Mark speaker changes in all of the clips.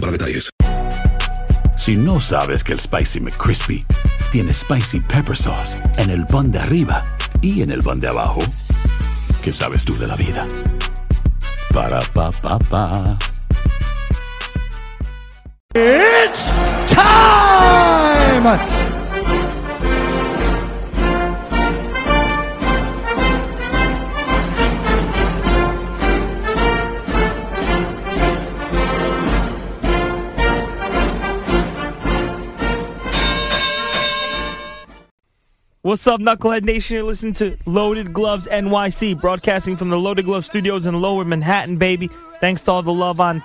Speaker 1: para detalles.
Speaker 2: Si no sabes que el Spicy McCrispy tiene Spicy Pepper Sauce en el pan de arriba y en el pan de abajo, ¿qué sabes tú de la vida? Para, pa, pa, pa.
Speaker 3: It's time! What's up, Knucklehead Nation? You're listening to Loaded Gloves NYC, broadcasting from the Loaded Glove Studios in Lower Manhattan, baby. Thanks to all the love on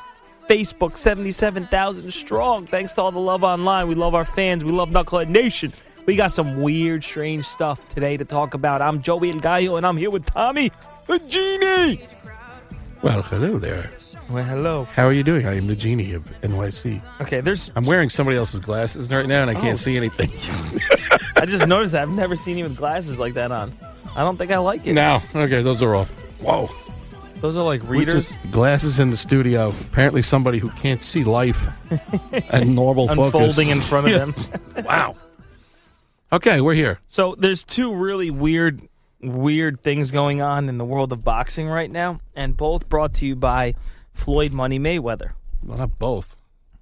Speaker 3: Facebook, 77,000 strong. Thanks to all the love online. We love our fans. We love Knucklehead Nation. We got some weird, strange stuff today to talk about. I'm Joey El Gallo, and I'm here with Tommy, the genie.
Speaker 4: Well, hello there.
Speaker 3: Well, hello.
Speaker 4: How are you doing? I am the genie of NYC.
Speaker 3: Okay, there's.
Speaker 4: I'm wearing somebody else's glasses right now, and I
Speaker 3: Oh.
Speaker 4: can't see anything.
Speaker 3: I just noticed that. I've never seen you with glasses like that on. I don't think I like it.
Speaker 4: no, okay, those are off. Whoa,
Speaker 3: Those are like
Speaker 4: We
Speaker 3: readers.
Speaker 4: just- glasses in the studio. Apparently, somebody who can't see life and normal focus
Speaker 3: unfolding in front of
Speaker 4: Yeah.
Speaker 3: them.
Speaker 4: Wow. Okay, we're here.
Speaker 3: So there's two really weird, weird things going on in the world of boxing right now, and both brought to you by Floyd Money Mayweather.
Speaker 4: Well, not both.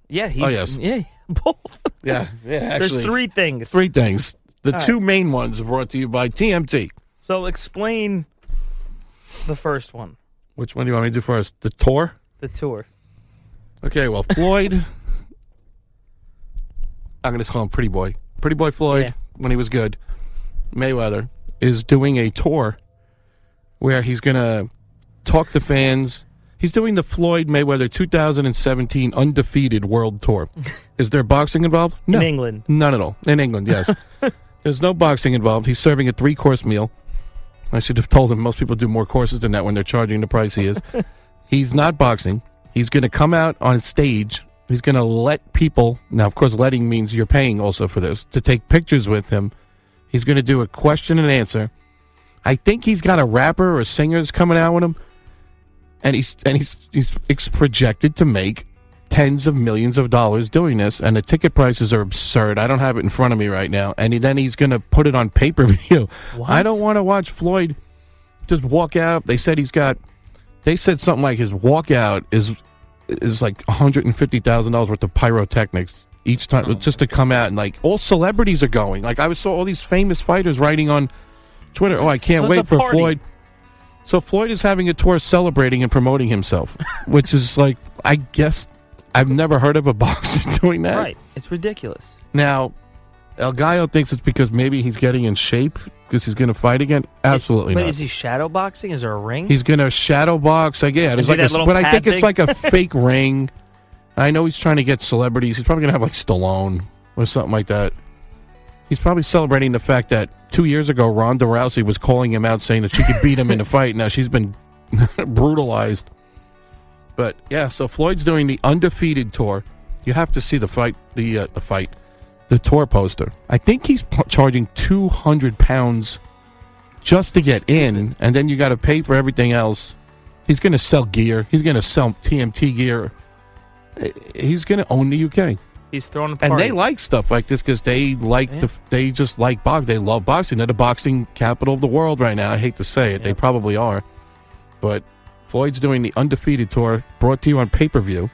Speaker 3: Yeah, he,
Speaker 4: Oh, yes.
Speaker 3: yeah, both.
Speaker 4: Yeah, yeah. Actually,
Speaker 3: there's three things.
Speaker 4: three things. The
Speaker 3: All right.
Speaker 4: two main ones are brought to you by TMT.
Speaker 3: So explain the first one,
Speaker 4: Which one do you want me to do first? The tour.
Speaker 3: the tour.
Speaker 4: Okay, well, Floyd. I'm going to call him Pretty Boy. Pretty Boy Floyd,
Speaker 3: Yeah.
Speaker 4: when he was good, Mayweather, is doing a tour where he's going to talk to fans. He's doing the Floyd Mayweather 2017 Undefeated World Tour. Is there boxing involved? No.
Speaker 3: In England.
Speaker 4: None at all. In England, yes. There's no boxing involved. He's serving a three course meal. I should have told him most people do more courses than that when they're charging the price he is. He's not boxing. He's going to come out on stage. He's going to let people. Now, of course, letting means you're paying also for this to take pictures with him. He's going to do a question and answer. I think he's got a rapper or singers coming out with him, and he's and he's he's ex- projected to make tens of millions of dollars doing this, and the ticket prices are absurd. I don't have it in front of me right now, and he, then he's going to put it on pay per view. I don't want to watch Floyd just walk out. They said he's got. They said something like his walkout is is like one hundred and fifty thousand dollars worth of pyrotechnics each time,
Speaker 3: Oh
Speaker 4: just to come out and like all celebrities are going. Like I was saw all these famous fighters writing on Twitter. Oh, I can't
Speaker 3: So it's a
Speaker 4: wait for
Speaker 3: party.
Speaker 4: Floyd. So Floyd is having a tour celebrating and promoting himself, which is like I guess I've never heard of a boxer doing that.
Speaker 3: Right. It's ridiculous.
Speaker 4: Now, El Gallo thinks it's because maybe he's getting in shape because he's going to fight again. Absolutely
Speaker 3: But
Speaker 4: not.
Speaker 3: is he shadow boxing? Is there a ring?
Speaker 4: He's going to shadow box. Like, yeah, there's
Speaker 3: he
Speaker 4: like
Speaker 3: that
Speaker 4: a,
Speaker 3: little
Speaker 4: but I
Speaker 3: pad
Speaker 4: think
Speaker 3: thing?
Speaker 4: it's like a fake ring. I know he's trying to get celebrities. He's probably going to have like Stallone or something like that. He's probably celebrating the fact that two years ago Ronda Rousey was calling him out saying that she could beat him in a fight. Now she's been brutalized. But yeah, so Floyd's doing the undefeated tour. You have to see the fight, the uh, the fight, the tour poster. I think he's p- charging two hundred pounds just to get in, and then you got to pay for everything else. He's going to sell gear. He's going to sell TMT gear. Eh, He's going to own the UK,
Speaker 3: He's throwing a party.
Speaker 4: and they like stuff like this because they like
Speaker 3: Yeah.
Speaker 4: the, they just like box. They love boxing. They're the boxing capital of the world right now. I hate to say it, they
Speaker 3: Yep.
Speaker 4: probably are, but Floyd's doing the undefeated tour, brought to you on pay per view.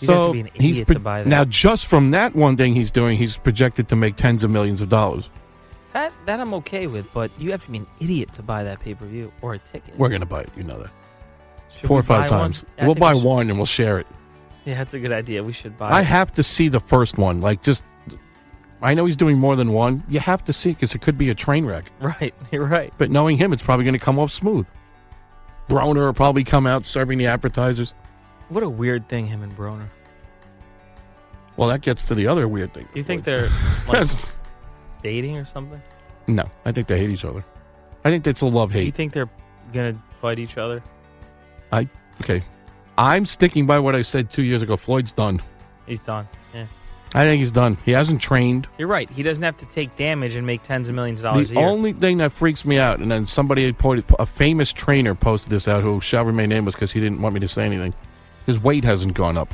Speaker 3: You'd have
Speaker 4: so
Speaker 3: to be an
Speaker 4: he's
Speaker 3: idiot
Speaker 4: pro-
Speaker 3: to buy that.
Speaker 4: now just from that one thing he's doing, he's projected to make tens of millions of dollars.
Speaker 3: that that I'm okay with, but you have to be an idiot to buy that pay per view or a ticket.
Speaker 4: We're gonna buy it, you know that.
Speaker 3: Should
Speaker 4: Four
Speaker 3: we
Speaker 4: or five
Speaker 3: buy one?
Speaker 4: times.
Speaker 3: I
Speaker 4: We'll
Speaker 3: think
Speaker 4: buy
Speaker 3: we should-
Speaker 4: one and we'll share it.
Speaker 3: Yeah, that's a good idea. We should buy.
Speaker 4: I
Speaker 3: it.
Speaker 4: have to see the first one. Like just, I know he's doing more than one. You have to see because it could be a train wreck.
Speaker 3: right. You're right.
Speaker 4: But knowing him, it's probably going to come off smooth. Broner will probably come out serving the appetizers.
Speaker 3: What a weird thing, him and Broner.
Speaker 4: Well, that gets to the other weird thing.
Speaker 3: You think they're like dating or something?
Speaker 4: no? I think they hate each other. I think that's a love
Speaker 3: You
Speaker 4: hate.
Speaker 3: think they're gonna fight each other?
Speaker 4: I okay. I'm sticking by what I said two years ago. Floyd's done.
Speaker 3: He's done. Yeah.
Speaker 4: I think he's done. He hasn't trained.
Speaker 3: You're right. He doesn't have to take damage and make tens of millions of dollars
Speaker 4: The
Speaker 3: a year.
Speaker 4: only thing that freaks me out, and then somebody had pointed, a famous trainer posted this out who shall remain nameless because he didn't want me to say anything. His weight hasn't gone up.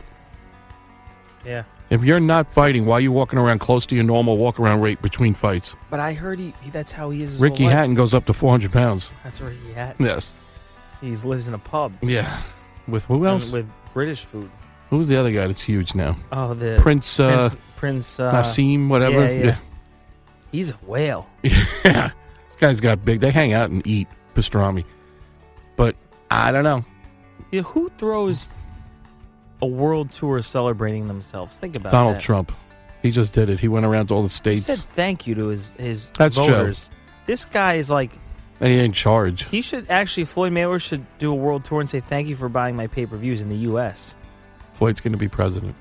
Speaker 3: yeah.
Speaker 4: If you're not fighting, why are you walking around close to your normal walk around rate between fights?
Speaker 3: But I heard he, he that's how he is. His whole
Speaker 4: Ricky
Speaker 3: life.
Speaker 4: Hatton goes up to 400 pounds.
Speaker 3: That's where he at.
Speaker 4: Yes.
Speaker 3: He lives in a pub.
Speaker 4: Yeah. With who
Speaker 3: and
Speaker 4: else?
Speaker 3: with British food.
Speaker 4: who was the other guy that's huge now?
Speaker 3: Oh, the
Speaker 4: Prince, uh,
Speaker 3: Prince. Prince uh,
Speaker 4: Nassim, whatever.
Speaker 3: yeah, yeah. He's a whale.
Speaker 4: Yeah. this guy's got big. They hang out and eat pastrami. But I don't know.
Speaker 3: Yeah, who throws a world tour celebrating themselves? Think about
Speaker 4: Donald
Speaker 3: that.
Speaker 4: Trump. He just did it. He went around to all the
Speaker 3: He
Speaker 4: states
Speaker 3: said thank you to his his
Speaker 4: That's true.
Speaker 3: voters. This guy is like
Speaker 4: and he ain't charge.
Speaker 3: he should actually Floyd Mayweather should do a world tour and say thank you for buying my pay per views in the U.S.
Speaker 4: Floyd's going to be president.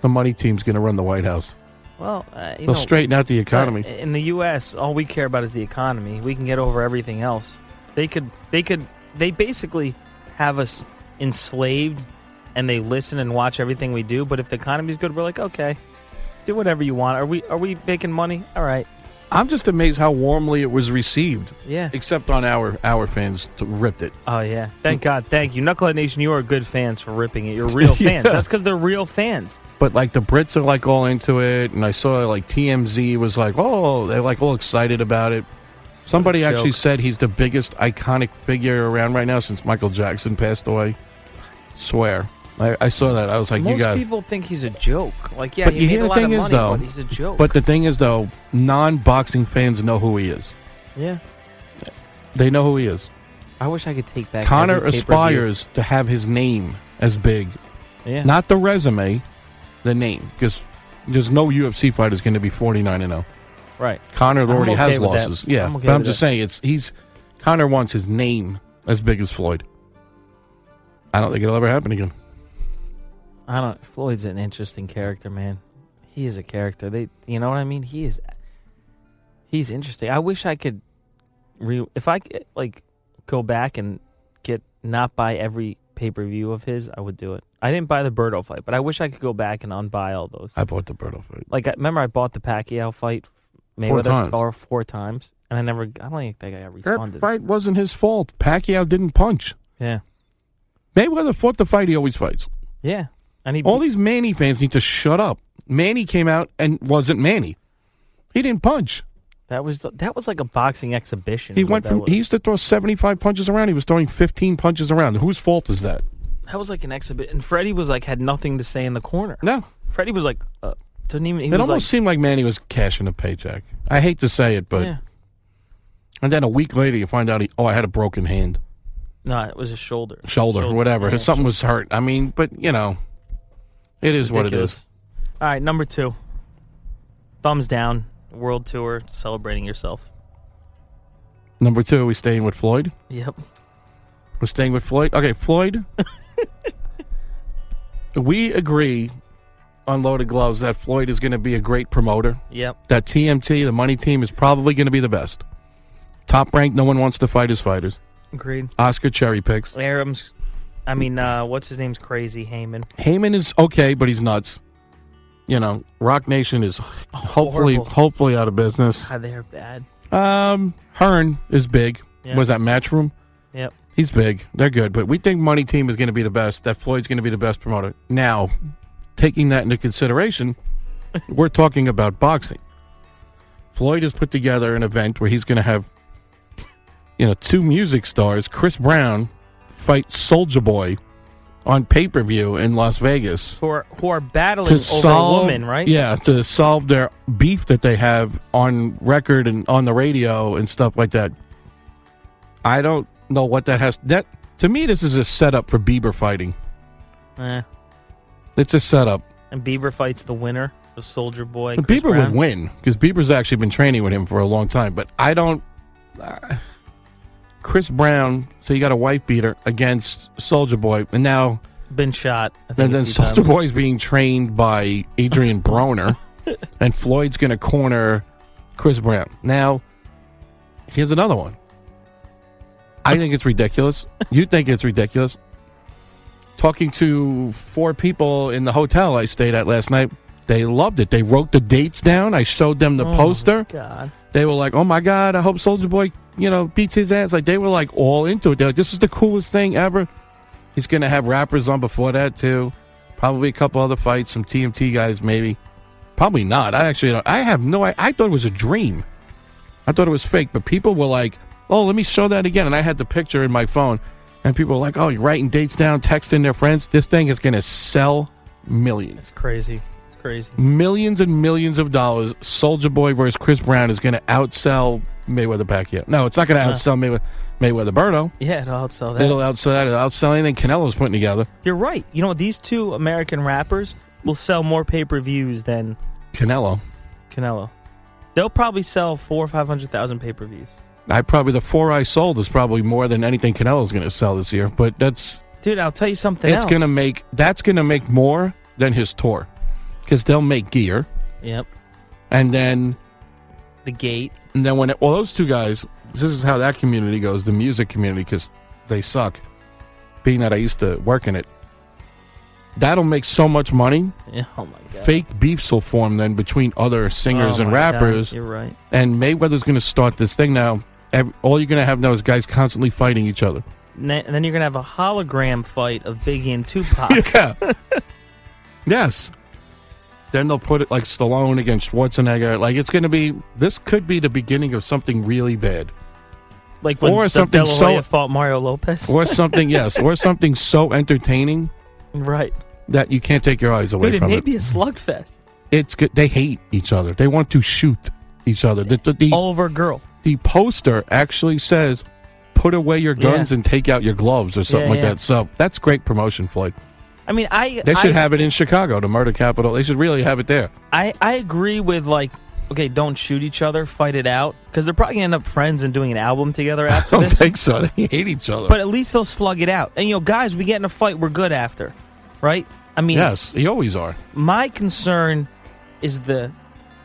Speaker 4: The money team's going to run the White House.
Speaker 3: Well, uh, you
Speaker 4: They'll
Speaker 3: know,
Speaker 4: straighten out the economy.
Speaker 3: uh, in the U.S. All we care about is the economy. We can get over everything else. They could they could they basically have us enslaved and they listen and watch everything we do. But if the economy's good, we're like okay. Do whatever you want. Are we are we making money? All right.
Speaker 4: I'm just amazed how warmly it was received,
Speaker 3: Yeah.
Speaker 4: except on our our fans t- ripped it.
Speaker 3: Oh yeah. Thank God. Thank you, Knucklehead Nation. You are good fans for ripping it. You're real fans.
Speaker 4: Yeah.
Speaker 3: That's because they're real fans.
Speaker 4: But like the Brits are like all into it, and I saw like TMZ was like, oh, they're like all excited about it. Somebody
Speaker 3: What a
Speaker 4: actually
Speaker 3: joke.
Speaker 4: said he's the biggest iconic figure around right now since Michael Jackson passed away. Swear, I, I saw that. I was like, you
Speaker 3: Most
Speaker 4: got.
Speaker 3: people think he's a joke. Like yeah,
Speaker 4: but
Speaker 3: he
Speaker 4: you
Speaker 3: made
Speaker 4: hear
Speaker 3: a
Speaker 4: the
Speaker 3: lot of
Speaker 4: thing
Speaker 3: money,
Speaker 4: is though,
Speaker 3: but he's a joke.
Speaker 4: But the thing is though, non-boxing fans know who he is.
Speaker 3: yeah,
Speaker 4: They know who he is.
Speaker 3: I wish I could take back.
Speaker 4: Connor
Speaker 3: every pay-per-view.
Speaker 4: aspires to have his name as big,
Speaker 3: Yeah.
Speaker 4: not the resume, the name, because there's no UFC fighter is going to be 49 and 0.
Speaker 3: right.
Speaker 4: Connor already
Speaker 3: okay
Speaker 4: has
Speaker 3: with that.
Speaker 4: losses. Yeah,
Speaker 3: I'm okay
Speaker 4: but I'm
Speaker 3: with
Speaker 4: just
Speaker 3: that.
Speaker 4: saying it's he's Connor wants his name as big as Floyd. I don't think it'll ever happen again.
Speaker 3: I don't. Floyd's an interesting character, man. He is a character. They, you know what I mean. He is. He's interesting. I wish I could, re if I could like go back and get not buy every pay per view of his, I would do it. I didn't buy the Birdo fight, but I wich I could go back and unbuy all those.
Speaker 4: I bought the Berto fight.
Speaker 3: Like, I, remember I bought the Pacquiao fight Mayweather
Speaker 4: times.
Speaker 3: four, four times, and I never. I don't even think I got
Speaker 4: That
Speaker 3: responded.
Speaker 4: fight wasn't his fault. Pacquiao didn't punch.
Speaker 3: Yeah,
Speaker 4: Mayweather fought the fight he always fights.
Speaker 3: yeah. And he
Speaker 4: All these Manny fans need to shut up. Manny came out and wasn't Manny. He didn't punch.
Speaker 3: that was the, that was like a boxing exhibition.
Speaker 4: He
Speaker 3: is what
Speaker 4: went
Speaker 3: that
Speaker 4: from
Speaker 3: was.
Speaker 4: he used to throw seventy five punches around. He was throwing fifteen punches around. Whose fault is that?
Speaker 3: That was like an exhibit, and Freddie was like had nothing to say in the corner.
Speaker 4: No,
Speaker 3: Freddie was like, uh, didn't even. He
Speaker 4: it
Speaker 3: was
Speaker 4: almost
Speaker 3: like,
Speaker 4: seemed like Manny was cashing a paycheck. I hate to say it, but
Speaker 3: yeah.
Speaker 4: and then a week later you find out he oh I had a broken hand,
Speaker 3: no, it was his shoulder,
Speaker 4: shoulder, whatever.
Speaker 3: Yeah.
Speaker 4: Something was hurt. I mean, but you know, it is what it
Speaker 3: Ridiculous.
Speaker 4: is.
Speaker 3: All right, number two, thumbs down, world tour, celebrating yourself.
Speaker 4: Number two, are we staying with Floyd?
Speaker 3: Yep.
Speaker 4: We're staying with Floyd. Okay, Floyd. we agree on loaded gloves that Floyd is going to be a great promoter.
Speaker 3: Yep.
Speaker 4: That TMT, the money team, is probably going to be the best. Top ranked. No one wants to fight his fighters.
Speaker 3: Agreed.
Speaker 4: Oscar cherry picks.
Speaker 3: Arams. I mean, uh, what's his name's crazy Heyman.
Speaker 4: Heyman is okay, but he's nuts. You know, Rock Nation is hopefully
Speaker 3: horrible.
Speaker 4: hopefully out of business.
Speaker 3: God, they're bad.
Speaker 4: Um, Hearn is big.
Speaker 3: Yeah.
Speaker 4: Was that Matchroom?
Speaker 3: Yep.
Speaker 4: He's big. They're good, but we think Money Team is going to be the best. That Floyd's going to be the best promoter. Now, taking that into consideration, we're talking about boxing. Floyd has put together an event where he's going to have, you know, two music stars, Chris Brown, fight Soldier Boy on pay per view in Las Vegas
Speaker 3: who are who are battling
Speaker 4: to
Speaker 3: over
Speaker 4: solve
Speaker 3: a woman, right?
Speaker 4: Yeah, to solve their beef that they have on record and on the radio and stuff like that. I don't know what that has that to me this is a setup for Bieber fighting.
Speaker 3: Eh.
Speaker 4: It's a setup.
Speaker 3: And Bieber fights the winner, the Soldier Boy.
Speaker 4: But
Speaker 3: Chris
Speaker 4: Bieber
Speaker 3: Brown.
Speaker 4: would win because Bieber's actually been training with him for a long time. But I don't. uh, Chris Brown, so you got a wife beater against Soldier Boy, and now
Speaker 3: Been shot. I think
Speaker 4: and
Speaker 3: a
Speaker 4: then
Speaker 3: few
Speaker 4: Soldier
Speaker 3: times.
Speaker 4: Boy's being trained by Adrian Broner, and Floyd's going to corner Chris Brown. Now, here's another one. I think it's ridiculous. You think it's ridiculous. Talking to four people in the hotel I stayed at last night, they loved it. They wrote the dates down. I showed them the
Speaker 3: Oh, my
Speaker 4: poster.
Speaker 3: God.
Speaker 4: They were like, "Oh my god, I hope Soldier Boy, you know, beats his ass." Like they were like all into it. They're like, "This is the coolest thing ever." He's gonna have rappers on before that too. Probably a couple other fights, some TMT guys maybe. Probably not. I actually, don't, I have no. I, I thought it was a dream. I thought it was fake, but people were like, "Oh, let me show that again." And I had the picture in my phone, and people were like, "Oh, you're writing dates down, texting their friends. This thing is gonna sell millions."
Speaker 3: It's crazy. It's crazy.
Speaker 4: millions and millions of dollars. Soldier Boy versus Chris Brown is going to outsell Mayweather Pacquiao. No, it's not going to outsell Maywe- Mayweather Berto.
Speaker 3: Yeah, it'll outsell that.
Speaker 4: It'll outsell it'll outsell anything Canelo's putting together.
Speaker 3: You're right. You know what? These two American rappers will sell more pay per views than
Speaker 4: Canelo.
Speaker 3: Canelo. They'll probably sell four or five hundred thousand pay per views.
Speaker 4: I probably the four I sold is probably more than anything Canelo's going to sell this year. But that's
Speaker 3: Dude, I'll tell you something
Speaker 4: it's
Speaker 3: else.
Speaker 4: going to make that's going to make more than his tour because they'll make gear
Speaker 3: Yep.
Speaker 4: and then
Speaker 3: The gate.
Speaker 4: And then when it, well, those two guys, this is how that community goes, the music community, because they suck. Being that I used to work in it, that'll make so much money.
Speaker 3: Yeah. Oh my god.
Speaker 4: Fake beefs will form then between other singers
Speaker 3: Oh
Speaker 4: and
Speaker 3: my God,
Speaker 4: rappers,
Speaker 3: You're right.
Speaker 4: and Mayweather's going to start this thing now. Ev all you're going to have now is guys constantly fighting each other.
Speaker 3: And then and then you're gonna have a hologram fight of Biggie and Tupac.
Speaker 4: Yeah. yes. Then they'll put it like Stallone against Schwarzenegger. Like it's going to be. This could be the beginning of something really bad.
Speaker 3: like when
Speaker 4: Or
Speaker 3: the
Speaker 4: something
Speaker 3: De La
Speaker 4: so-
Speaker 3: Hoya fought Mario Lopez.
Speaker 4: or something yes or something so entertaining
Speaker 3: Right.
Speaker 4: that you can't take your eyes away
Speaker 3: Dude, it
Speaker 4: from
Speaker 3: may
Speaker 4: it
Speaker 3: be a slugfest
Speaker 4: it's good they hate each other they want to shoot each other the, the, the,
Speaker 3: all over a girl.
Speaker 4: the poster actually says put away your guns
Speaker 3: Yeah.
Speaker 4: and take out your gloves or something
Speaker 3: Yeah,
Speaker 4: like
Speaker 3: yeah.
Speaker 4: that so that's great promotion floyd
Speaker 3: I mean, I
Speaker 4: they
Speaker 3: I,
Speaker 4: should have it in chicago the murder capital they should really have it there
Speaker 3: I I agree with like okay, don't shoot each other, fight it out because they're probably gonna end up friends and doing an album together
Speaker 4: i
Speaker 3: after
Speaker 4: don't
Speaker 3: this.
Speaker 4: think so they hate each other
Speaker 3: but at least they'll slug it out. And you know, guys, we get in a fight, we're good after, right? I mean,
Speaker 4: yes they always are
Speaker 3: my concern is the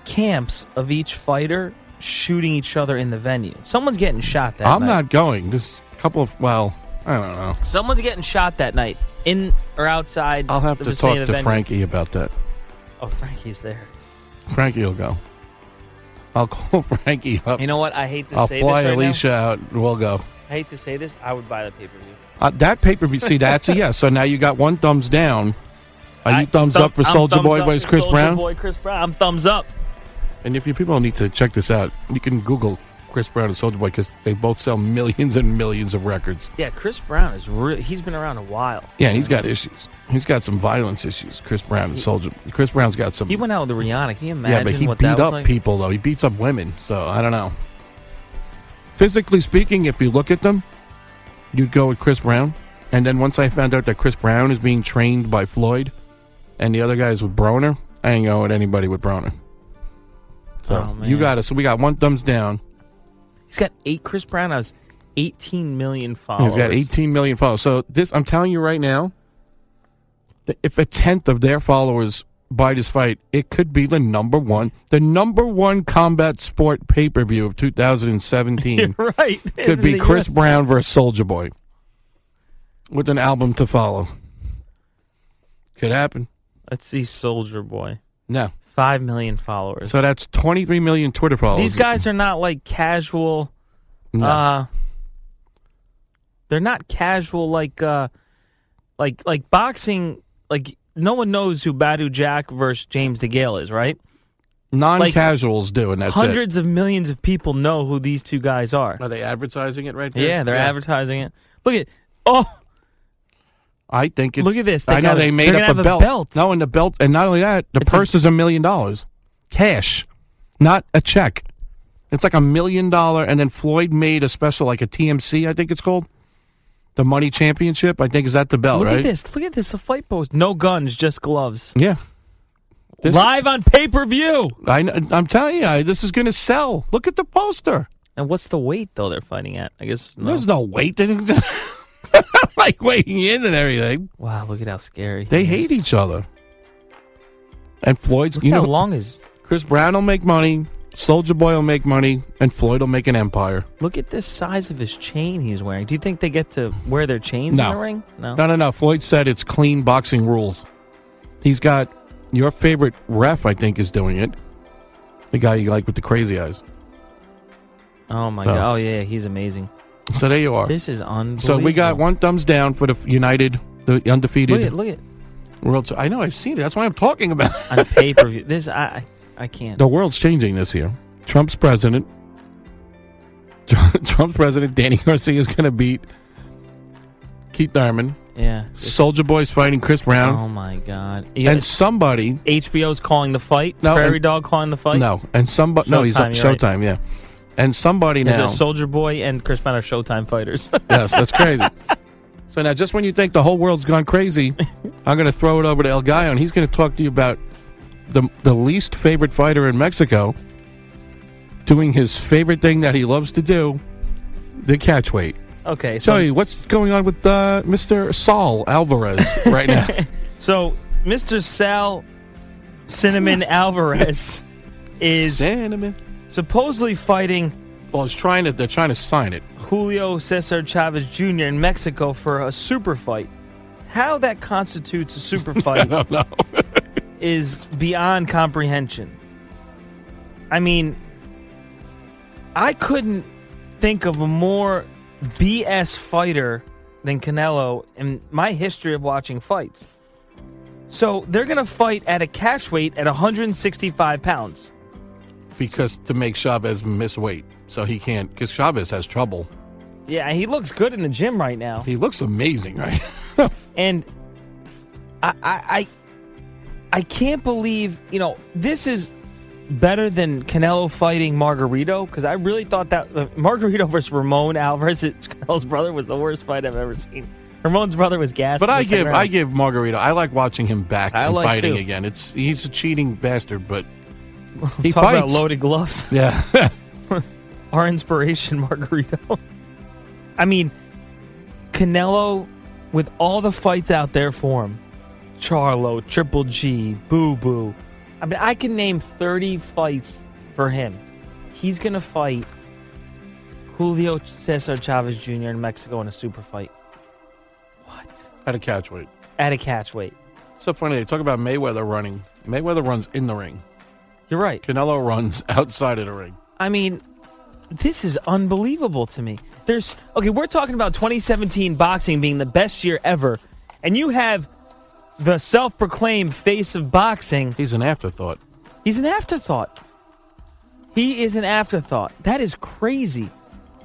Speaker 3: camps of each fighter shooting each other in the venue. Someone's getting shot that
Speaker 4: i'm
Speaker 3: night.
Speaker 4: not going this couple of well i don't know
Speaker 3: Someone's getting shot that night in or outside.
Speaker 4: i'll have
Speaker 3: the
Speaker 4: to
Speaker 3: vicinity
Speaker 4: talk
Speaker 3: of the
Speaker 4: to
Speaker 3: venue.
Speaker 4: frankie about that
Speaker 3: Oh, Frankie's there.
Speaker 4: frankie will go i'll call frankie up
Speaker 3: You know what? I hate to
Speaker 4: I'll
Speaker 3: say
Speaker 4: fly
Speaker 3: this right
Speaker 4: Alicia out. We'll go.
Speaker 3: now. I hate to say this. I would buy the pay per view.
Speaker 4: Uh, that pay per view. See, that's a yes. So now you got one thumbs down. Are you thumbs, up for Soldier Boy versus Chris Brown?
Speaker 3: Boy, Chris Brown. I'm thumbs up.
Speaker 4: And if you people need to check this out, you can Google Chris Brown and Soldier Boy because they both sell millions and millions of records.
Speaker 3: Yeah, Chris Brown is really. He's been around a while.
Speaker 4: Yeah, and he's got issues. He's got some violence issues. Chris Brown and Soldier. Chris Brown's got some.
Speaker 3: He went out with Rihanna. Can you
Speaker 4: yeah,
Speaker 3: imagine
Speaker 4: but he
Speaker 3: what
Speaker 4: beat
Speaker 3: that was
Speaker 4: up
Speaker 3: like?
Speaker 4: people though. He beats up women. So I don't know. Physically speaking, if you look at them, you'd go with Chris Brown. And then once I found out that Chris Brown is being trained by Floyd, and the other guys with Broner, I ain't going with anybody with Broner. So
Speaker 3: Oh,
Speaker 4: you
Speaker 3: man.
Speaker 4: got us. So we got one thumbs down.
Speaker 3: He's got eight. Chris Brown has 18 million followers.
Speaker 4: He's got 18 million followers. So this, I'm telling you right now, that if a tenth of their followers buy this fight, it could be the number one, the number one combat sport pay per view of 2017.
Speaker 3: You're right.
Speaker 4: could be
Speaker 3: The US.
Speaker 4: Chris Brown versus Soldier Boy, with an album to follow. Could happen.
Speaker 3: Let's see, Soldier Boy.
Speaker 4: No.
Speaker 3: Five million followers.
Speaker 4: So that's 23 million Twitter followers.
Speaker 3: These guys are not like casual.
Speaker 4: No.
Speaker 3: Uh, they're not casual like uh, like like boxing. Like no one knows who Badu Jack versus James DeGale is, right?
Speaker 4: non-casuals do, and that's
Speaker 3: Hundreds of millions of people know who these two guys are.
Speaker 4: it. Are they advertising it right there?
Speaker 3: Yeah, they're advertising it. Look at oh,
Speaker 4: I think it's.
Speaker 3: Look at this. They
Speaker 4: I know
Speaker 3: got a-
Speaker 4: they made
Speaker 3: they're
Speaker 4: up
Speaker 3: gonna have
Speaker 4: a
Speaker 3: a
Speaker 4: belt.
Speaker 3: belt.
Speaker 4: No, and the belt, and not only that, the
Speaker 3: It's a-
Speaker 4: purse is a million dollars, cash, not a check. It's like a million dollar, and then Floyd made a special, like a TMC, I think it's called, the Money Championship. I think is that the belt,
Speaker 3: Look
Speaker 4: Oh, right?
Speaker 3: at this. Look at this. A fight post. No guns, just gloves.
Speaker 4: Yeah, This-
Speaker 3: Live on pay per view.
Speaker 4: I, kn- I'm telling you, I, this is going to sell. Look at the poster.
Speaker 3: And what's the weight though they're fighting at? I guess no.
Speaker 4: There's no weight. They didn't- like weighing in and everything.
Speaker 3: Wow, look at how scary.
Speaker 4: They hate each other. And Floyd's,
Speaker 3: Look
Speaker 4: you
Speaker 3: how
Speaker 4: know,
Speaker 3: long is.
Speaker 4: Chris Brown will make money, Soldier Boy will make money, and Floyd will make an empire.
Speaker 3: Look at the size of his chain he's wearing. Do you think they get to wear their chains
Speaker 4: No.
Speaker 3: in the ring? No.
Speaker 4: No, no, no. Floyd said it's clean boxing rules. He's got your favorite ref, I think, is doing it. The guy you like with the crazy eyes.
Speaker 3: Oh my
Speaker 4: So-
Speaker 3: god. Oh yeah, he's amazing.
Speaker 4: So there you are.
Speaker 3: This is unbelievable.
Speaker 4: So we got one thumbs down for the United, the
Speaker 3: Look
Speaker 4: undefeated
Speaker 3: at look at
Speaker 4: world. Se- I know I've seen it. That's why I'm talking about. it.
Speaker 3: on pay per view. This I I, I can't.
Speaker 4: The world's changing this year. Trump's president. Tr- Trump's president Danny Garcia is going to beat Keith Thurman.
Speaker 3: Yeah.
Speaker 4: Soldier Boy's fighting Chris Brown.
Speaker 3: Oh my god. You
Speaker 4: and
Speaker 3: got-
Speaker 4: somebody
Speaker 3: HBO's calling the fight.
Speaker 4: No,
Speaker 3: Prairie
Speaker 4: and-
Speaker 3: Dog calling the fight.
Speaker 4: no, and somebody no, he's on
Speaker 3: Showtime, you're right.
Speaker 4: Showtime, yeah, and somebody
Speaker 3: Is
Speaker 4: now.
Speaker 3: it Soldier Boy and Chris Brown are Showtime fighters?
Speaker 4: yes, that's crazy. so now, just when you think the whole world's gone crazy, I'm going to throw it over to El Gallo, and he's going to talk to you about the the least favorite fighter in Mexico doing his favorite thing that he loves to do, the catch weight.
Speaker 3: okay.
Speaker 4: So,
Speaker 3: So
Speaker 4: what's going on with uh, Mr. Saul Alvarez right now?
Speaker 3: so Mr. Sal Cinnamon Alvarez is
Speaker 4: Cinnamon.
Speaker 3: supposedly fighting
Speaker 4: Well, he's trying to. They're trying to sign it.
Speaker 3: Julio Cesar Chavez Jr. in Mexico for a super fight. How that constitutes a super fight
Speaker 4: No, no.
Speaker 3: is beyond comprehension. I mean, I couldn't think of a more BS fighter than Canelo in my history of watching fights. So they're going to fight at a catch weight at 165 pounds.
Speaker 4: because to make Chavez miss weight, so he can't. Because Chavez has trouble.
Speaker 3: Yeah, he looks good in the gym right now.
Speaker 4: He looks amazing, right?
Speaker 3: And I, I, I, I can't believe you know this is better than Canelo fighting Margarito because I really thought that uh, Margarito versus Ramon Alvarez, it's Canelo's brother, was the worst fight I've ever seen. Ramon's brother was gassed.
Speaker 4: but
Speaker 3: in the
Speaker 4: I
Speaker 3: second
Speaker 4: give
Speaker 3: round.
Speaker 4: I give Margarito. I like watching him back
Speaker 3: I
Speaker 4: and
Speaker 3: like
Speaker 4: fighting
Speaker 3: too.
Speaker 4: again. It's he's a cheating bastard, but he
Speaker 3: talk
Speaker 4: fights.
Speaker 3: about loaded gloves.
Speaker 4: yeah,
Speaker 3: our inspiration, Margarito. I mean, Canelo, with all the fights out there for him, Charlo, Triple G, Boo Boo. I mean, I can name 30 fights for him. He's going to fight Julio Cesar Chavez Jr. in Mexico in a super fight. What?
Speaker 4: had a catch weight.
Speaker 3: At a catch weight.
Speaker 4: So funny they talk about Mayweather running. Mayweather runs in the ring.
Speaker 3: You're right.
Speaker 4: Canelo runs outside of the ring.
Speaker 3: I mean, this is unbelievable to me. There's okay, we're talking about 2017 boxing being the best year ever, and you have the self-proclaimed face of boxing.
Speaker 4: He's an afterthought.
Speaker 3: He's an afterthought. He is an afterthought. That is crazy.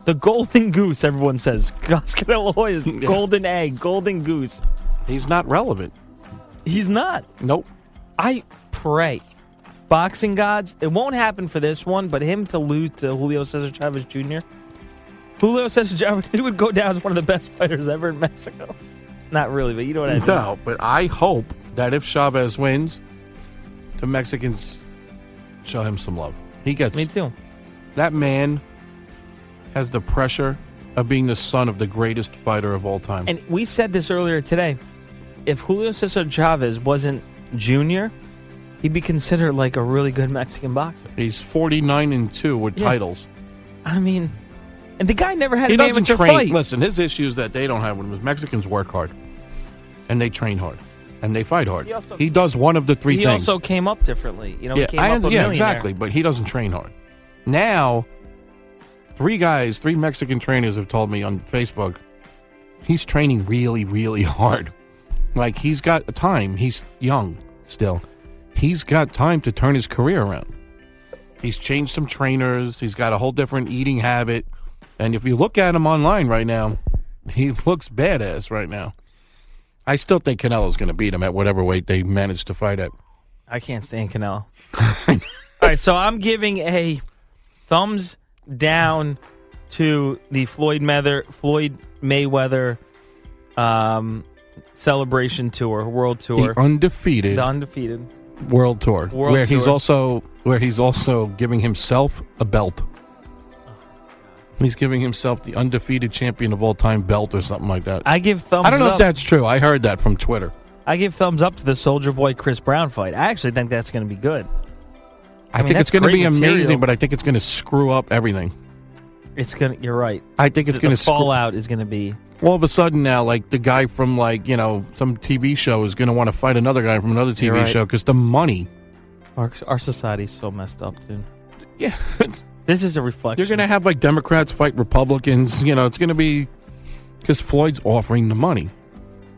Speaker 3: The golden goose, everyone says. Oscar De La Hoya's golden egg, golden goose.
Speaker 4: He's not relevant.
Speaker 3: He's not.
Speaker 4: Nope.
Speaker 3: I pray, boxing gods, it won't happen for this one, but him to lose to Julio Cesar Chavez Jr. Julio Cesar Chavez he would go down as one of the best fighters ever in Mexico. Not really, but you know what I mean.
Speaker 4: No, but I hope that if Chavez wins, the Mexicans show him some love. He gets
Speaker 3: Me too.
Speaker 4: that man has the pressure of being the son of the greatest fighter of all time.
Speaker 3: And we said this earlier today. If Julio Cesar Chavez wasn't junior, he'd be considered like a really good Mexican boxer.
Speaker 4: He's 49 and 2 with
Speaker 3: Yeah.
Speaker 4: titles.
Speaker 3: I mean, and the guy never had
Speaker 4: He
Speaker 3: a name
Speaker 4: doesn't
Speaker 3: at the
Speaker 4: train.
Speaker 3: fight.
Speaker 4: Listen, his issue is that they don't have one. Is Mexicans work hard and they train hard and they fight hard.
Speaker 3: He also-
Speaker 4: He does one of the three
Speaker 3: he
Speaker 4: things.
Speaker 3: also came up differently. You know,
Speaker 4: yeah,
Speaker 3: he came
Speaker 4: I-
Speaker 3: up a
Speaker 4: yeah,
Speaker 3: millionaire.
Speaker 4: exactly, but he doesn't train hard. Now, three guys, three Mexican trainers have told me on Facebook he's training really, really hard. Like he's got time. He's young still. He's got time to turn his career around. He's changed some trainers. He's got a whole different eating habit. And if you look at him online right now, he looks badass right now. I still think Canelo's going to beat him at whatever weight they manage to fight at.
Speaker 3: I can't stand Canelo. All right, so I'm giving a thumbs down to the Floyd Mather, Floyd Mayweather um, celebration tour, world tour,
Speaker 4: The undefeated
Speaker 3: the undefeated.
Speaker 4: world tour,
Speaker 3: World
Speaker 4: where he's
Speaker 3: Tour.
Speaker 4: also where he's also giving himself a belt. He's giving himself the undefeated champion of all time belt or something like that.
Speaker 3: I give thumbs.
Speaker 4: I don't know
Speaker 3: up.
Speaker 4: if that's true. I heard that from Twitter.
Speaker 3: I give thumbs up to the Soldier Boy Chris Brown fight. I actually think that's going to be good.
Speaker 4: I,
Speaker 3: mean,
Speaker 4: think
Speaker 3: that's
Speaker 4: it's going to
Speaker 3: great
Speaker 4: be
Speaker 3: material.
Speaker 4: amazing, but I think it's going to screw up everything.
Speaker 3: It's gonna. You're right.
Speaker 4: I think it's
Speaker 3: The-
Speaker 4: going
Speaker 3: the
Speaker 4: to screw
Speaker 3: fallout is going to be.
Speaker 4: all of a sudden now like the guy from like you know some tv show is going to want to fight another guy from another tv
Speaker 3: You're right.
Speaker 4: show because the money
Speaker 3: Our, our society's so messed up, dude.
Speaker 4: yeah
Speaker 3: This is a reflection.
Speaker 4: you're going to have like democrats fight republicans you know it's going to be because floyd's offering the money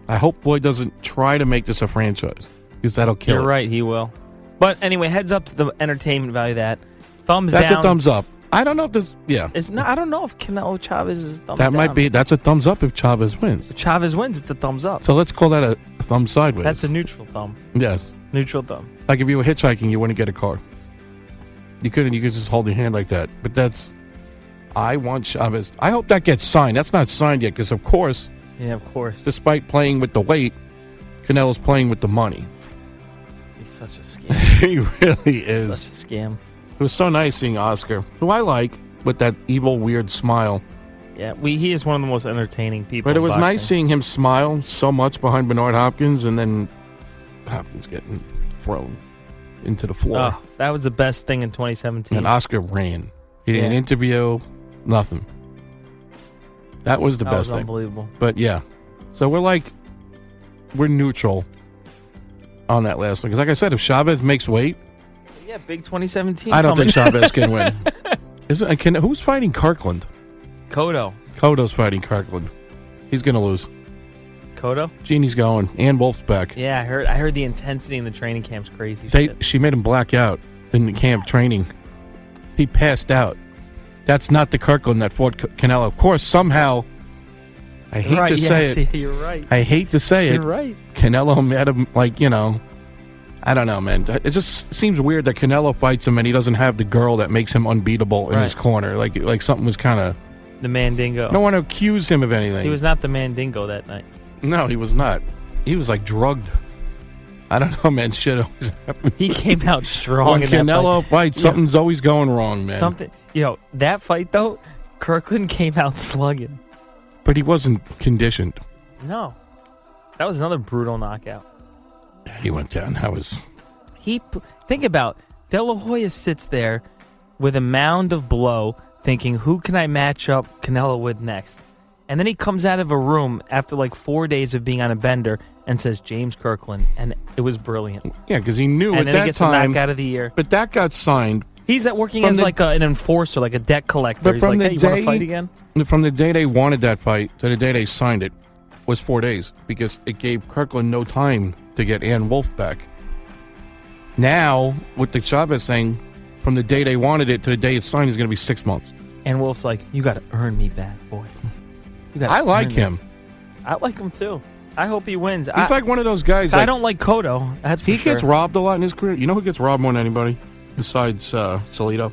Speaker 4: i hope floyd doesn't try to make this a franchise because that'll kill
Speaker 3: You're
Speaker 4: it.
Speaker 3: right. He will. But anyway, heads up to the entertainment value of that thumbs
Speaker 4: that's
Speaker 3: down.
Speaker 4: a thumbs up i don't know if this yeah
Speaker 3: It's not. I don't know if Canelo Chavez is a thumbs
Speaker 4: that might
Speaker 3: down.
Speaker 4: be that's a thumbs up if chavez wins
Speaker 3: If Chavez wins. It's a thumbs up.
Speaker 4: so let's call that a thumb sideways
Speaker 3: That's a neutral thumb.
Speaker 4: yes
Speaker 3: Neutral thumb.
Speaker 4: Like if you were hitchhiking, you wouldn't get a car. You couldn't. You could just hold your hand like that. But that's. I want Chavez. I hope that gets signed. That's not signed yet because, of course,
Speaker 3: Yeah, of course.
Speaker 4: despite playing with the weight, Canelo's playing with the money.
Speaker 3: He's such a scam.
Speaker 4: he really is.
Speaker 3: such a scam.
Speaker 4: It was so nice seeing Oscar, who I like with that evil, weird smile.
Speaker 3: Yeah, we. He is one of the most entertaining people.
Speaker 4: But it
Speaker 3: in
Speaker 4: was
Speaker 3: boxing.
Speaker 4: nice seeing him smile so much behind Bernard Hopkins and then Hopkins getting thrown into the floor.
Speaker 3: Oh, that was the best thing in 2017.
Speaker 4: And Oscar ran. He didn't
Speaker 3: Yeah.
Speaker 4: interview, nothing. That was the
Speaker 3: that
Speaker 4: best
Speaker 3: was
Speaker 4: thing.
Speaker 3: unbelievable.
Speaker 4: But yeah, so we're like, we're neutral on that last one. Because like I said, if Chavez makes weight,
Speaker 3: Yeah, big 2017.
Speaker 4: I don't
Speaker 3: coming.
Speaker 4: think Chavez can win. Isn't I can, who's fighting Kirkland?
Speaker 3: Kodo.
Speaker 4: Cotto's fighting Kirkland. He's gonna lose.
Speaker 3: Kodo.
Speaker 4: Jeannie's going. Ann Wolf's back.
Speaker 3: Yeah, I heard. I heard the intensity in the training camp's crazy.
Speaker 4: They,
Speaker 3: shit.
Speaker 4: she made him black out in the camp training. He passed out. That's not the Kirkland that fought C- Canelo. Of course, somehow, I hate
Speaker 3: right,
Speaker 4: to
Speaker 3: yeah,
Speaker 4: say
Speaker 3: I
Speaker 4: it.
Speaker 3: see, You're right.
Speaker 4: I hate to say it.
Speaker 3: You're right.
Speaker 4: Canelo met him like you know. I don't know, man. It just seems weird that Canelo fights him and he doesn't have the girl that makes him unbeatable in his
Speaker 3: Right.
Speaker 4: corner. Like like something was kind of.
Speaker 3: The Mandingo.
Speaker 4: I don't want to accuse him of anything.
Speaker 3: he was not the Mandingo that night.
Speaker 4: no, he was not. He was like drugged. I don't know, man. Shit always happens.
Speaker 3: He came out strong.
Speaker 4: When
Speaker 3: in that
Speaker 4: Canelo
Speaker 3: fight.
Speaker 4: fights,
Speaker 3: Yeah.
Speaker 4: something's always going wrong, man.
Speaker 3: something. You know that fight though. Kirkland came out slugging.
Speaker 4: But he wasn't conditioned.
Speaker 3: No, that was another brutal knockout.
Speaker 4: He went down. That was
Speaker 3: He p- think about De La Hoya sits there with a mound of blow, thinking, "Who can I match up Canelo with next?" And then he comes out of a room after like four days of being on a bender and says, "James Kirkland," and it was brilliant.
Speaker 4: yeah, because he knew
Speaker 3: And
Speaker 4: at
Speaker 3: then he
Speaker 4: that
Speaker 3: gets a
Speaker 4: time.
Speaker 3: knockout of the year.
Speaker 4: But that got signed
Speaker 3: He's at working
Speaker 4: From
Speaker 3: as
Speaker 4: the-
Speaker 3: like a, an enforcer, like a debt collector.
Speaker 4: But
Speaker 3: He's like,
Speaker 4: from the
Speaker 3: hey, you want
Speaker 4: day-
Speaker 3: to fight again?
Speaker 4: from the day they wanted that fight to the day they signed it was four days because it gave Kirkland no time to get Ann Wolf back. Now with the Chavez thing, from the day they wanted it to the day it's signed is going to be six months.
Speaker 3: And Wolf's like, "You got to earn me back, boy." You gotta
Speaker 4: I like
Speaker 3: earn this."
Speaker 4: him.
Speaker 3: I like him too. I hope he wins.
Speaker 4: He's
Speaker 3: I,
Speaker 4: like one of those guys. That
Speaker 3: I don't like Kodo. That's for
Speaker 4: He
Speaker 3: sure.
Speaker 4: gets robbed a lot in his career. You know who gets robbed more than anybody besides uh, Salido?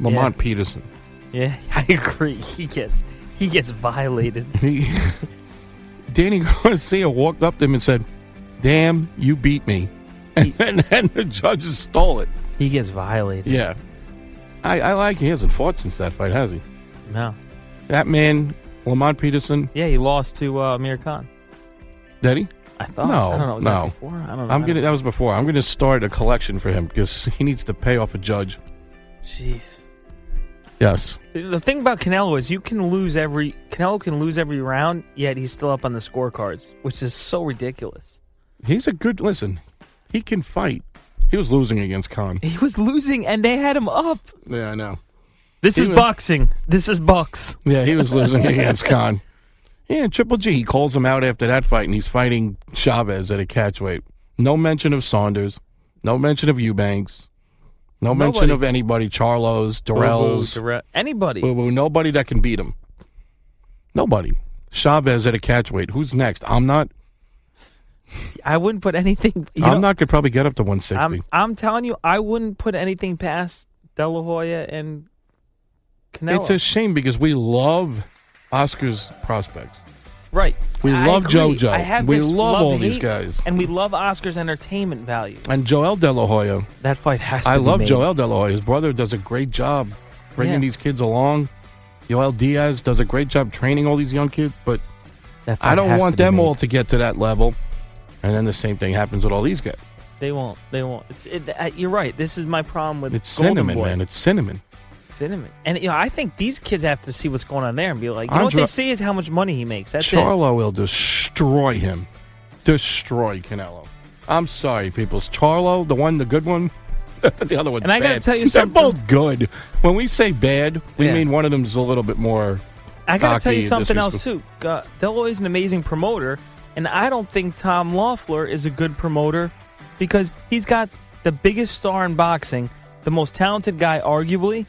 Speaker 4: Lamont Peterson.
Speaker 3: Yeah, I agree. He gets he gets violated.
Speaker 4: He, Danny Garcia walked up to him and said, "Damn, you beat me," and, then the judges stole it.
Speaker 3: He gets violated.
Speaker 4: Yeah, I, I like he hasn't fought since that fight, has he?
Speaker 3: No.
Speaker 4: That man, Lamont Peterson,
Speaker 3: Yeah, he lost to uh, Amir Khan.
Speaker 4: did he?
Speaker 3: I thought.
Speaker 4: No,
Speaker 3: I don't know. Was
Speaker 4: no.
Speaker 3: That before? I don't know.
Speaker 4: I'm
Speaker 3: I
Speaker 4: gonna.
Speaker 3: don't-
Speaker 4: That was before. I'm gonna start a collection for him because he needs to pay off a judge.
Speaker 3: Jeez.
Speaker 4: Yes,
Speaker 3: The thing about Canelo is you can lose every Canelo can lose every round, yet he's still up on the scorecards, which is so ridiculous.
Speaker 4: he's a good. Listen, he can fight. He was losing against Khan.
Speaker 3: He was losing, and they had him up.
Speaker 4: Yeah, I know.
Speaker 3: This
Speaker 4: He
Speaker 3: is
Speaker 4: was-
Speaker 3: boxing. This is bucks.
Speaker 4: Yeah, he was losing against Khan. Yeah, and Triple G. He calls him out after that fight, and he's fighting Chavez at a catchweight. No mention of Saunders. No mention of Eubanks. No mention
Speaker 3: Nobody.
Speaker 4: of anybody. Charlos, Durrells.
Speaker 3: Anybody.
Speaker 4: Boo boo. Nobody that can beat him. Nobody. Chavez at a catchweight. Who's next? I'm not.
Speaker 3: I wouldn't put anything. you
Speaker 4: I'm
Speaker 3: know,
Speaker 4: not could probably get up to 160.
Speaker 3: I'm, I'm telling you, I wouldn't put anything past De La Hoya and Canelo.
Speaker 4: it's a shame because we love Oscar's prospects.
Speaker 3: right.
Speaker 4: we
Speaker 3: I
Speaker 4: love
Speaker 3: agree.
Speaker 4: JoJo.
Speaker 3: I have
Speaker 4: We
Speaker 3: this
Speaker 4: love all these
Speaker 3: hate,
Speaker 4: guys.
Speaker 3: and we love Oscar's entertainment value.
Speaker 4: And Joel De La Hoya,
Speaker 3: That fight has. to
Speaker 4: I
Speaker 3: be
Speaker 4: love
Speaker 3: made.
Speaker 4: Joel De La Hoya. His brother does a great job bringing
Speaker 3: Yeah.
Speaker 4: these kids along. Joel Diaz does a great job training all these young kids, but
Speaker 3: That
Speaker 4: I
Speaker 3: fight
Speaker 4: don't
Speaker 3: has
Speaker 4: want
Speaker 3: to be
Speaker 4: them
Speaker 3: made.
Speaker 4: all to get to that level. And then the same thing happens with all these guys.
Speaker 3: They won't. They won't. It's. It, uh, you're right. This is my problem with
Speaker 4: It's
Speaker 3: Golden
Speaker 4: cinnamon,
Speaker 3: Boy.
Speaker 4: man. It's cinnamon.
Speaker 3: Cinnamon. And you know, I think these kids have to see what's going on there and be like, you know what
Speaker 4: Andre-
Speaker 3: they see is how much money he makes. That's
Speaker 4: Charlo will destroy him. Destroy Canelo. I'm sorry, people. Charlo, the one, the good one, the other one.
Speaker 3: And I gotta tell you something.
Speaker 4: They're both good. When we say bad, we
Speaker 3: Yeah.
Speaker 4: mean one of them's a little bit more.
Speaker 3: it. I got to tell you
Speaker 4: cocky,
Speaker 3: something else too.
Speaker 4: disrespectful.
Speaker 3: Uh, Delroy is an amazing promoter, and I don't think Tom Loeffler is a good promoter because he's got the biggest star in boxing, the most talented guy, arguably,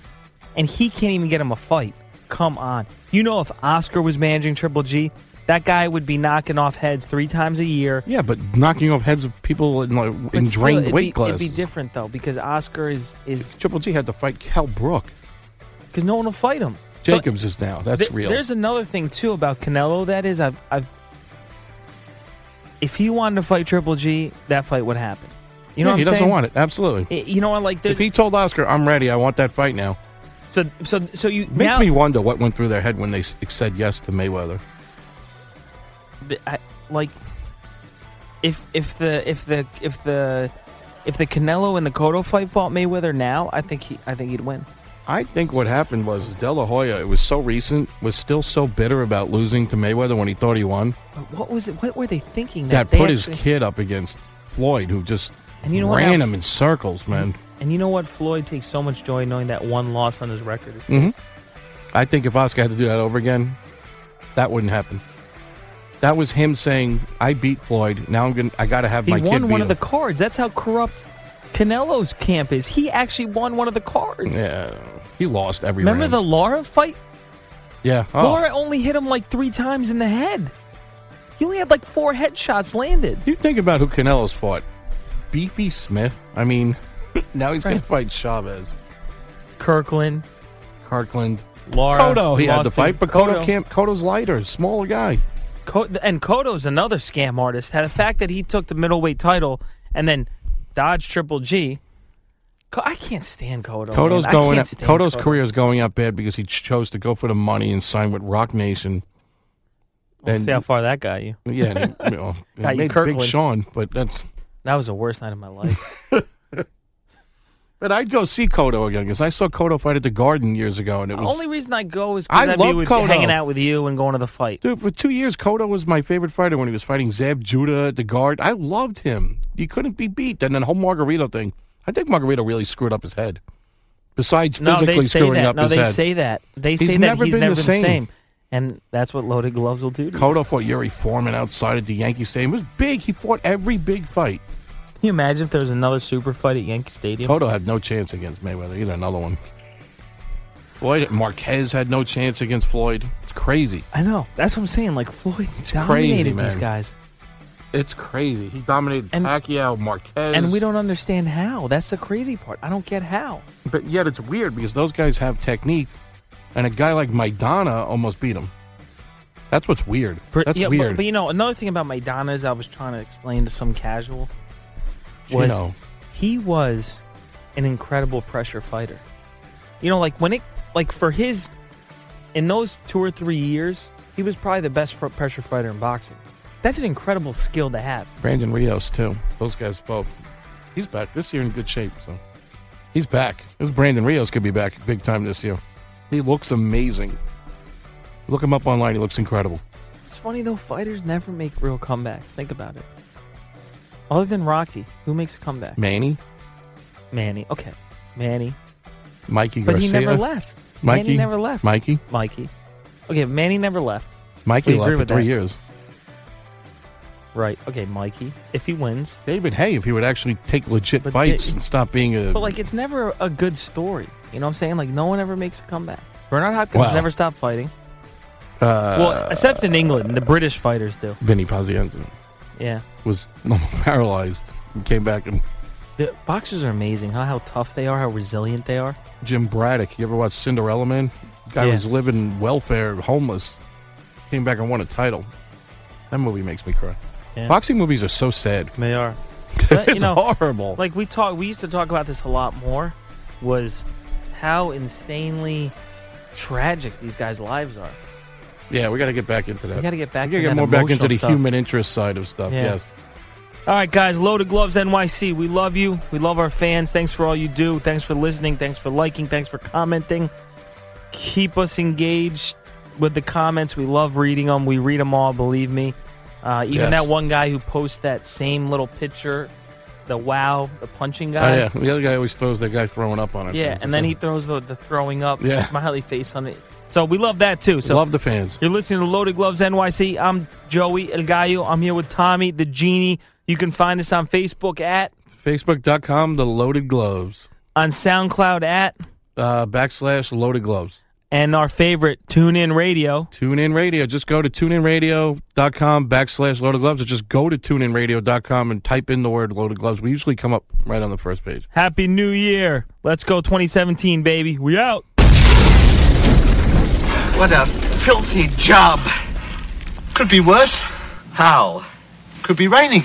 Speaker 3: and he can't even get him a fight. Come on. You know, if Oscar was managing Triple G, that guy would be knocking off heads three times a year.
Speaker 4: Yeah, but knocking off heads of people in, like, in
Speaker 3: But still,
Speaker 4: drained
Speaker 3: it'd
Speaker 4: weight
Speaker 3: be,
Speaker 4: classes.
Speaker 3: It'd be different though because Oscar is is
Speaker 4: Triple G had to fight Cal Brook.
Speaker 3: because no one will fight him. So-
Speaker 4: Jacobs is now. That's
Speaker 3: Th-
Speaker 4: real.
Speaker 3: There's another thing too about Canelo. That is, I've, I've, if he wanted to fight Triple G, that fight would happen. You know,
Speaker 4: yeah,
Speaker 3: what
Speaker 4: he
Speaker 3: I'm
Speaker 4: doesn't
Speaker 3: saying?
Speaker 4: want it. Absolutely.
Speaker 3: I- You know what? Like, there's,
Speaker 4: If he told Oscar, "I'm ready. I want that fight now,"
Speaker 3: so, so, so you
Speaker 4: makes
Speaker 3: now,
Speaker 4: me wonder what went through their head when they s- said yes to Mayweather.
Speaker 3: th- I, like, if if the if the if the if the Canelo and the Cotto fight fought Mayweather now, I think he I think he'd win.
Speaker 4: I think what happened was De La Hoya, it was so recent, was still so bitter about losing to Mayweather when he thought he won
Speaker 3: But what was it? What were they thinking?
Speaker 4: that
Speaker 3: That, they
Speaker 4: put
Speaker 3: actually-
Speaker 4: his kid up against Floyd, who just
Speaker 3: And you know what,
Speaker 4: ran
Speaker 3: Alf?
Speaker 4: him in circles, man.
Speaker 3: And you know what? Floyd takes so much joy knowing that one loss on his record. Is
Speaker 4: Mhm.
Speaker 3: his.
Speaker 4: I think if Oscar had to do that over again, that wouldn't happen. That was him saying, "I beat Floyd. Now I'm gonna. I got to have
Speaker 3: He
Speaker 4: my kid
Speaker 3: won
Speaker 4: beat
Speaker 3: one of the
Speaker 4: him."
Speaker 3: cards. That's how corrupt Canelo's camp is. He actually won one of the cards.
Speaker 4: Yeah, he lost every.
Speaker 3: Remember the
Speaker 4: round.
Speaker 3: Laura fight?
Speaker 4: yeah. Oh.
Speaker 3: Laura only hit him like three times in the head. He only had like four headshots landed.
Speaker 4: You think about who Canelo's fought? Beefy Smith. I mean, now he's gonna
Speaker 3: Right.
Speaker 4: fight Chavez,
Speaker 3: Kirkland,
Speaker 4: Kirkland.
Speaker 3: Laura.
Speaker 4: Kodo, he had
Speaker 3: Uh, lost
Speaker 4: the
Speaker 3: to
Speaker 4: fight, but Kodo
Speaker 3: Cotto.
Speaker 4: can't. Kodo's lighter, smaller guy.
Speaker 3: Co- and Kodo's another scam artist. Had the fact that he took the middleweight title and then dodged Triple G. Co- I can't stand Kodo. man.
Speaker 4: Kodo's
Speaker 3: Oh, I
Speaker 4: going.
Speaker 3: can't
Speaker 4: Up,
Speaker 3: stand
Speaker 4: Kodo's
Speaker 3: Cotto.
Speaker 4: career is going up bad because he ch- chose to go for the money and sign with Rock Nation.
Speaker 3: We'll
Speaker 4: and-
Speaker 3: see how far that got you.
Speaker 4: Yeah, and he, you know, he
Speaker 3: Got you
Speaker 4: made Big
Speaker 3: Kirkland.
Speaker 4: Sean, but that's.
Speaker 3: That was the worst night of my life.
Speaker 4: But I'd go see Kodo again because I saw Kodo fight at the Garden years ago, and it
Speaker 3: the
Speaker 4: was
Speaker 3: only reason I go is because
Speaker 4: I
Speaker 3: I'd be
Speaker 4: love
Speaker 3: with,
Speaker 4: Cotto.
Speaker 3: hanging out with you and going to the fight.
Speaker 4: dude for two years. Kodo was my favorite fighter when he was fighting Zab Judah at the Guard. I loved him. He couldn't be beat. And then the whole Margarito thing. I think Margarito really screwed up his head. Besides
Speaker 3: No,
Speaker 4: physically
Speaker 3: they say
Speaker 4: screwing
Speaker 3: that.
Speaker 4: up
Speaker 3: No,
Speaker 4: his
Speaker 3: they
Speaker 4: head.
Speaker 3: say that. They say
Speaker 4: He's
Speaker 3: that
Speaker 4: never
Speaker 3: he's
Speaker 4: been
Speaker 3: never
Speaker 4: the
Speaker 3: been the
Speaker 4: same.
Speaker 3: same. And that's what loaded gloves will do. to you. Can
Speaker 4: Cotto fought Yuri Foreman outside at the Yankee Stadium. It was big. He fought every big fight.
Speaker 3: you imagine if there was another super fight at Yankee Stadium?
Speaker 4: Cotto had no chance against Mayweather. Either another one. Floyd Marquez had no chance against Floyd. It's crazy.
Speaker 3: I know. That's what I'm saying. Like Floyd dominated
Speaker 4: crazy,
Speaker 3: these
Speaker 4: man.
Speaker 3: guys,
Speaker 4: It's crazy. He dominated
Speaker 3: And-
Speaker 4: Pacquiao, Marquez,
Speaker 3: and we don't understand how. That's the crazy part. I don't get how.
Speaker 4: But yet it's weird because those guys have technique, and a guy like Maidana almost beat him. That's what's weird.
Speaker 3: Per-
Speaker 4: That's
Speaker 3: yeah,
Speaker 4: weird.
Speaker 3: But, but you know, another thing about Maidana is I was trying to explain to some casual
Speaker 4: You
Speaker 3: was
Speaker 4: know.
Speaker 3: he was an incredible pressure fighter. You know, like when it like for his in those two or three years, he was probably the best fr- pressure fighter in boxing. That's an incredible skill to have.
Speaker 4: Brandon Rios too. Those guys both. He's back this year in good shape. So he's back. This Brandon Rios could be back big time this year. He looks amazing. Look him up online. He looks incredible.
Speaker 3: It's funny though, fighters never make real comebacks. Think about it. Other than Rocky, who makes a comeback?
Speaker 4: Manny,
Speaker 3: Manny. Okay, Manny.
Speaker 4: Mikey
Speaker 3: But he
Speaker 4: Garcia,
Speaker 3: never left.
Speaker 4: Mikey
Speaker 3: Manny never left.
Speaker 4: Mikey,
Speaker 3: Mikey. Okay, Manny never left.
Speaker 4: Mikey
Speaker 3: We agree
Speaker 4: left for
Speaker 3: with
Speaker 4: three
Speaker 3: that.
Speaker 4: years.
Speaker 3: Right. Okay, Mikey. If he wins,
Speaker 4: David Hay, if he would actually take legit
Speaker 3: But
Speaker 4: fights
Speaker 3: they-
Speaker 4: and stop being a
Speaker 3: But like, it's never a good story. You know what I'm saying? Like, no one ever makes a comeback. Bernard Hopkins
Speaker 4: Wow.
Speaker 3: never stopped fighting.
Speaker 4: uh,
Speaker 3: Well, except in England, the British fighters do.
Speaker 4: Vinny Pazienza.
Speaker 3: Yeah.
Speaker 4: was paralyzed and came back. And
Speaker 3: The boxers are amazing, huh? How tough they are, how resilient they are.
Speaker 4: Jim Braddock, you ever watch Cinderella Man? Guy
Speaker 3: Yeah.
Speaker 4: was living welfare, homeless, came back and won a title. That movie makes me cry.
Speaker 3: Yeah.
Speaker 4: Boxing movies are so sad.
Speaker 3: They are. But,
Speaker 4: it's
Speaker 3: you know,
Speaker 4: horrible.
Speaker 3: like we talk we used to talk about this a lot more was how insanely tragic these guys' lives are.
Speaker 4: yeah, we got to get back into that.
Speaker 3: We gotta get back
Speaker 4: We
Speaker 3: to
Speaker 4: gotta
Speaker 3: that
Speaker 4: more back into
Speaker 3: emotional
Speaker 4: the
Speaker 3: stuff.
Speaker 4: human interest side of stuff.
Speaker 3: Yeah.
Speaker 4: Yes.
Speaker 3: All right, guys, Loaded Gloves NYC. We love you. We love our fans. Thanks for all you do. Thanks for listening. Thanks for liking. Thanks for commenting. Keep us engaged with the comments. We love reading them. We read them all, believe me. Uh, even
Speaker 4: Yes.
Speaker 3: that one guy who posts that same little picture, the wow, the punching
Speaker 4: Oh
Speaker 3: guy.
Speaker 4: yeah, the other guy always throws that guy throwing up on it.
Speaker 3: Yeah, and then he throws the, the throwing up
Speaker 4: Yeah.
Speaker 3: smiley face on it. So we love that too. So
Speaker 4: love the fans.
Speaker 3: you're listening to Loaded Gloves NYC. I'm Joey El Gallo. I'm here with Tommy the Genie. You can find us on Facebook at
Speaker 4: Facebook.com, the loaded gloves,
Speaker 3: on SoundCloud at
Speaker 4: uh, backslash loaded gloves.
Speaker 3: and our favorite TuneIn Radio.
Speaker 4: Tune in radio. Just go to tuneinradio.com backslash loaded gloves or just go to tuneinradio.com and type in the word loaded gloves. We usually come up right on the first page.
Speaker 3: Happy New Year. Let's go 2017, baby. We out.
Speaker 5: What a filthy job. Could be worse. How? Could be raining.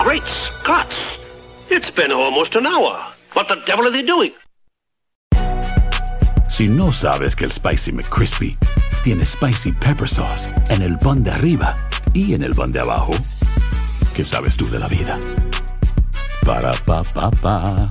Speaker 6: Great Scots! It's been almost an hour. What the devil are they doing?
Speaker 2: Si no sabes que el Spicy McCrispy tiene Spicy Pepper Sauce en el pan de arriba y en el pan de abajo, ¿qué sabes tú de la vida? Para, pa, pa, pa.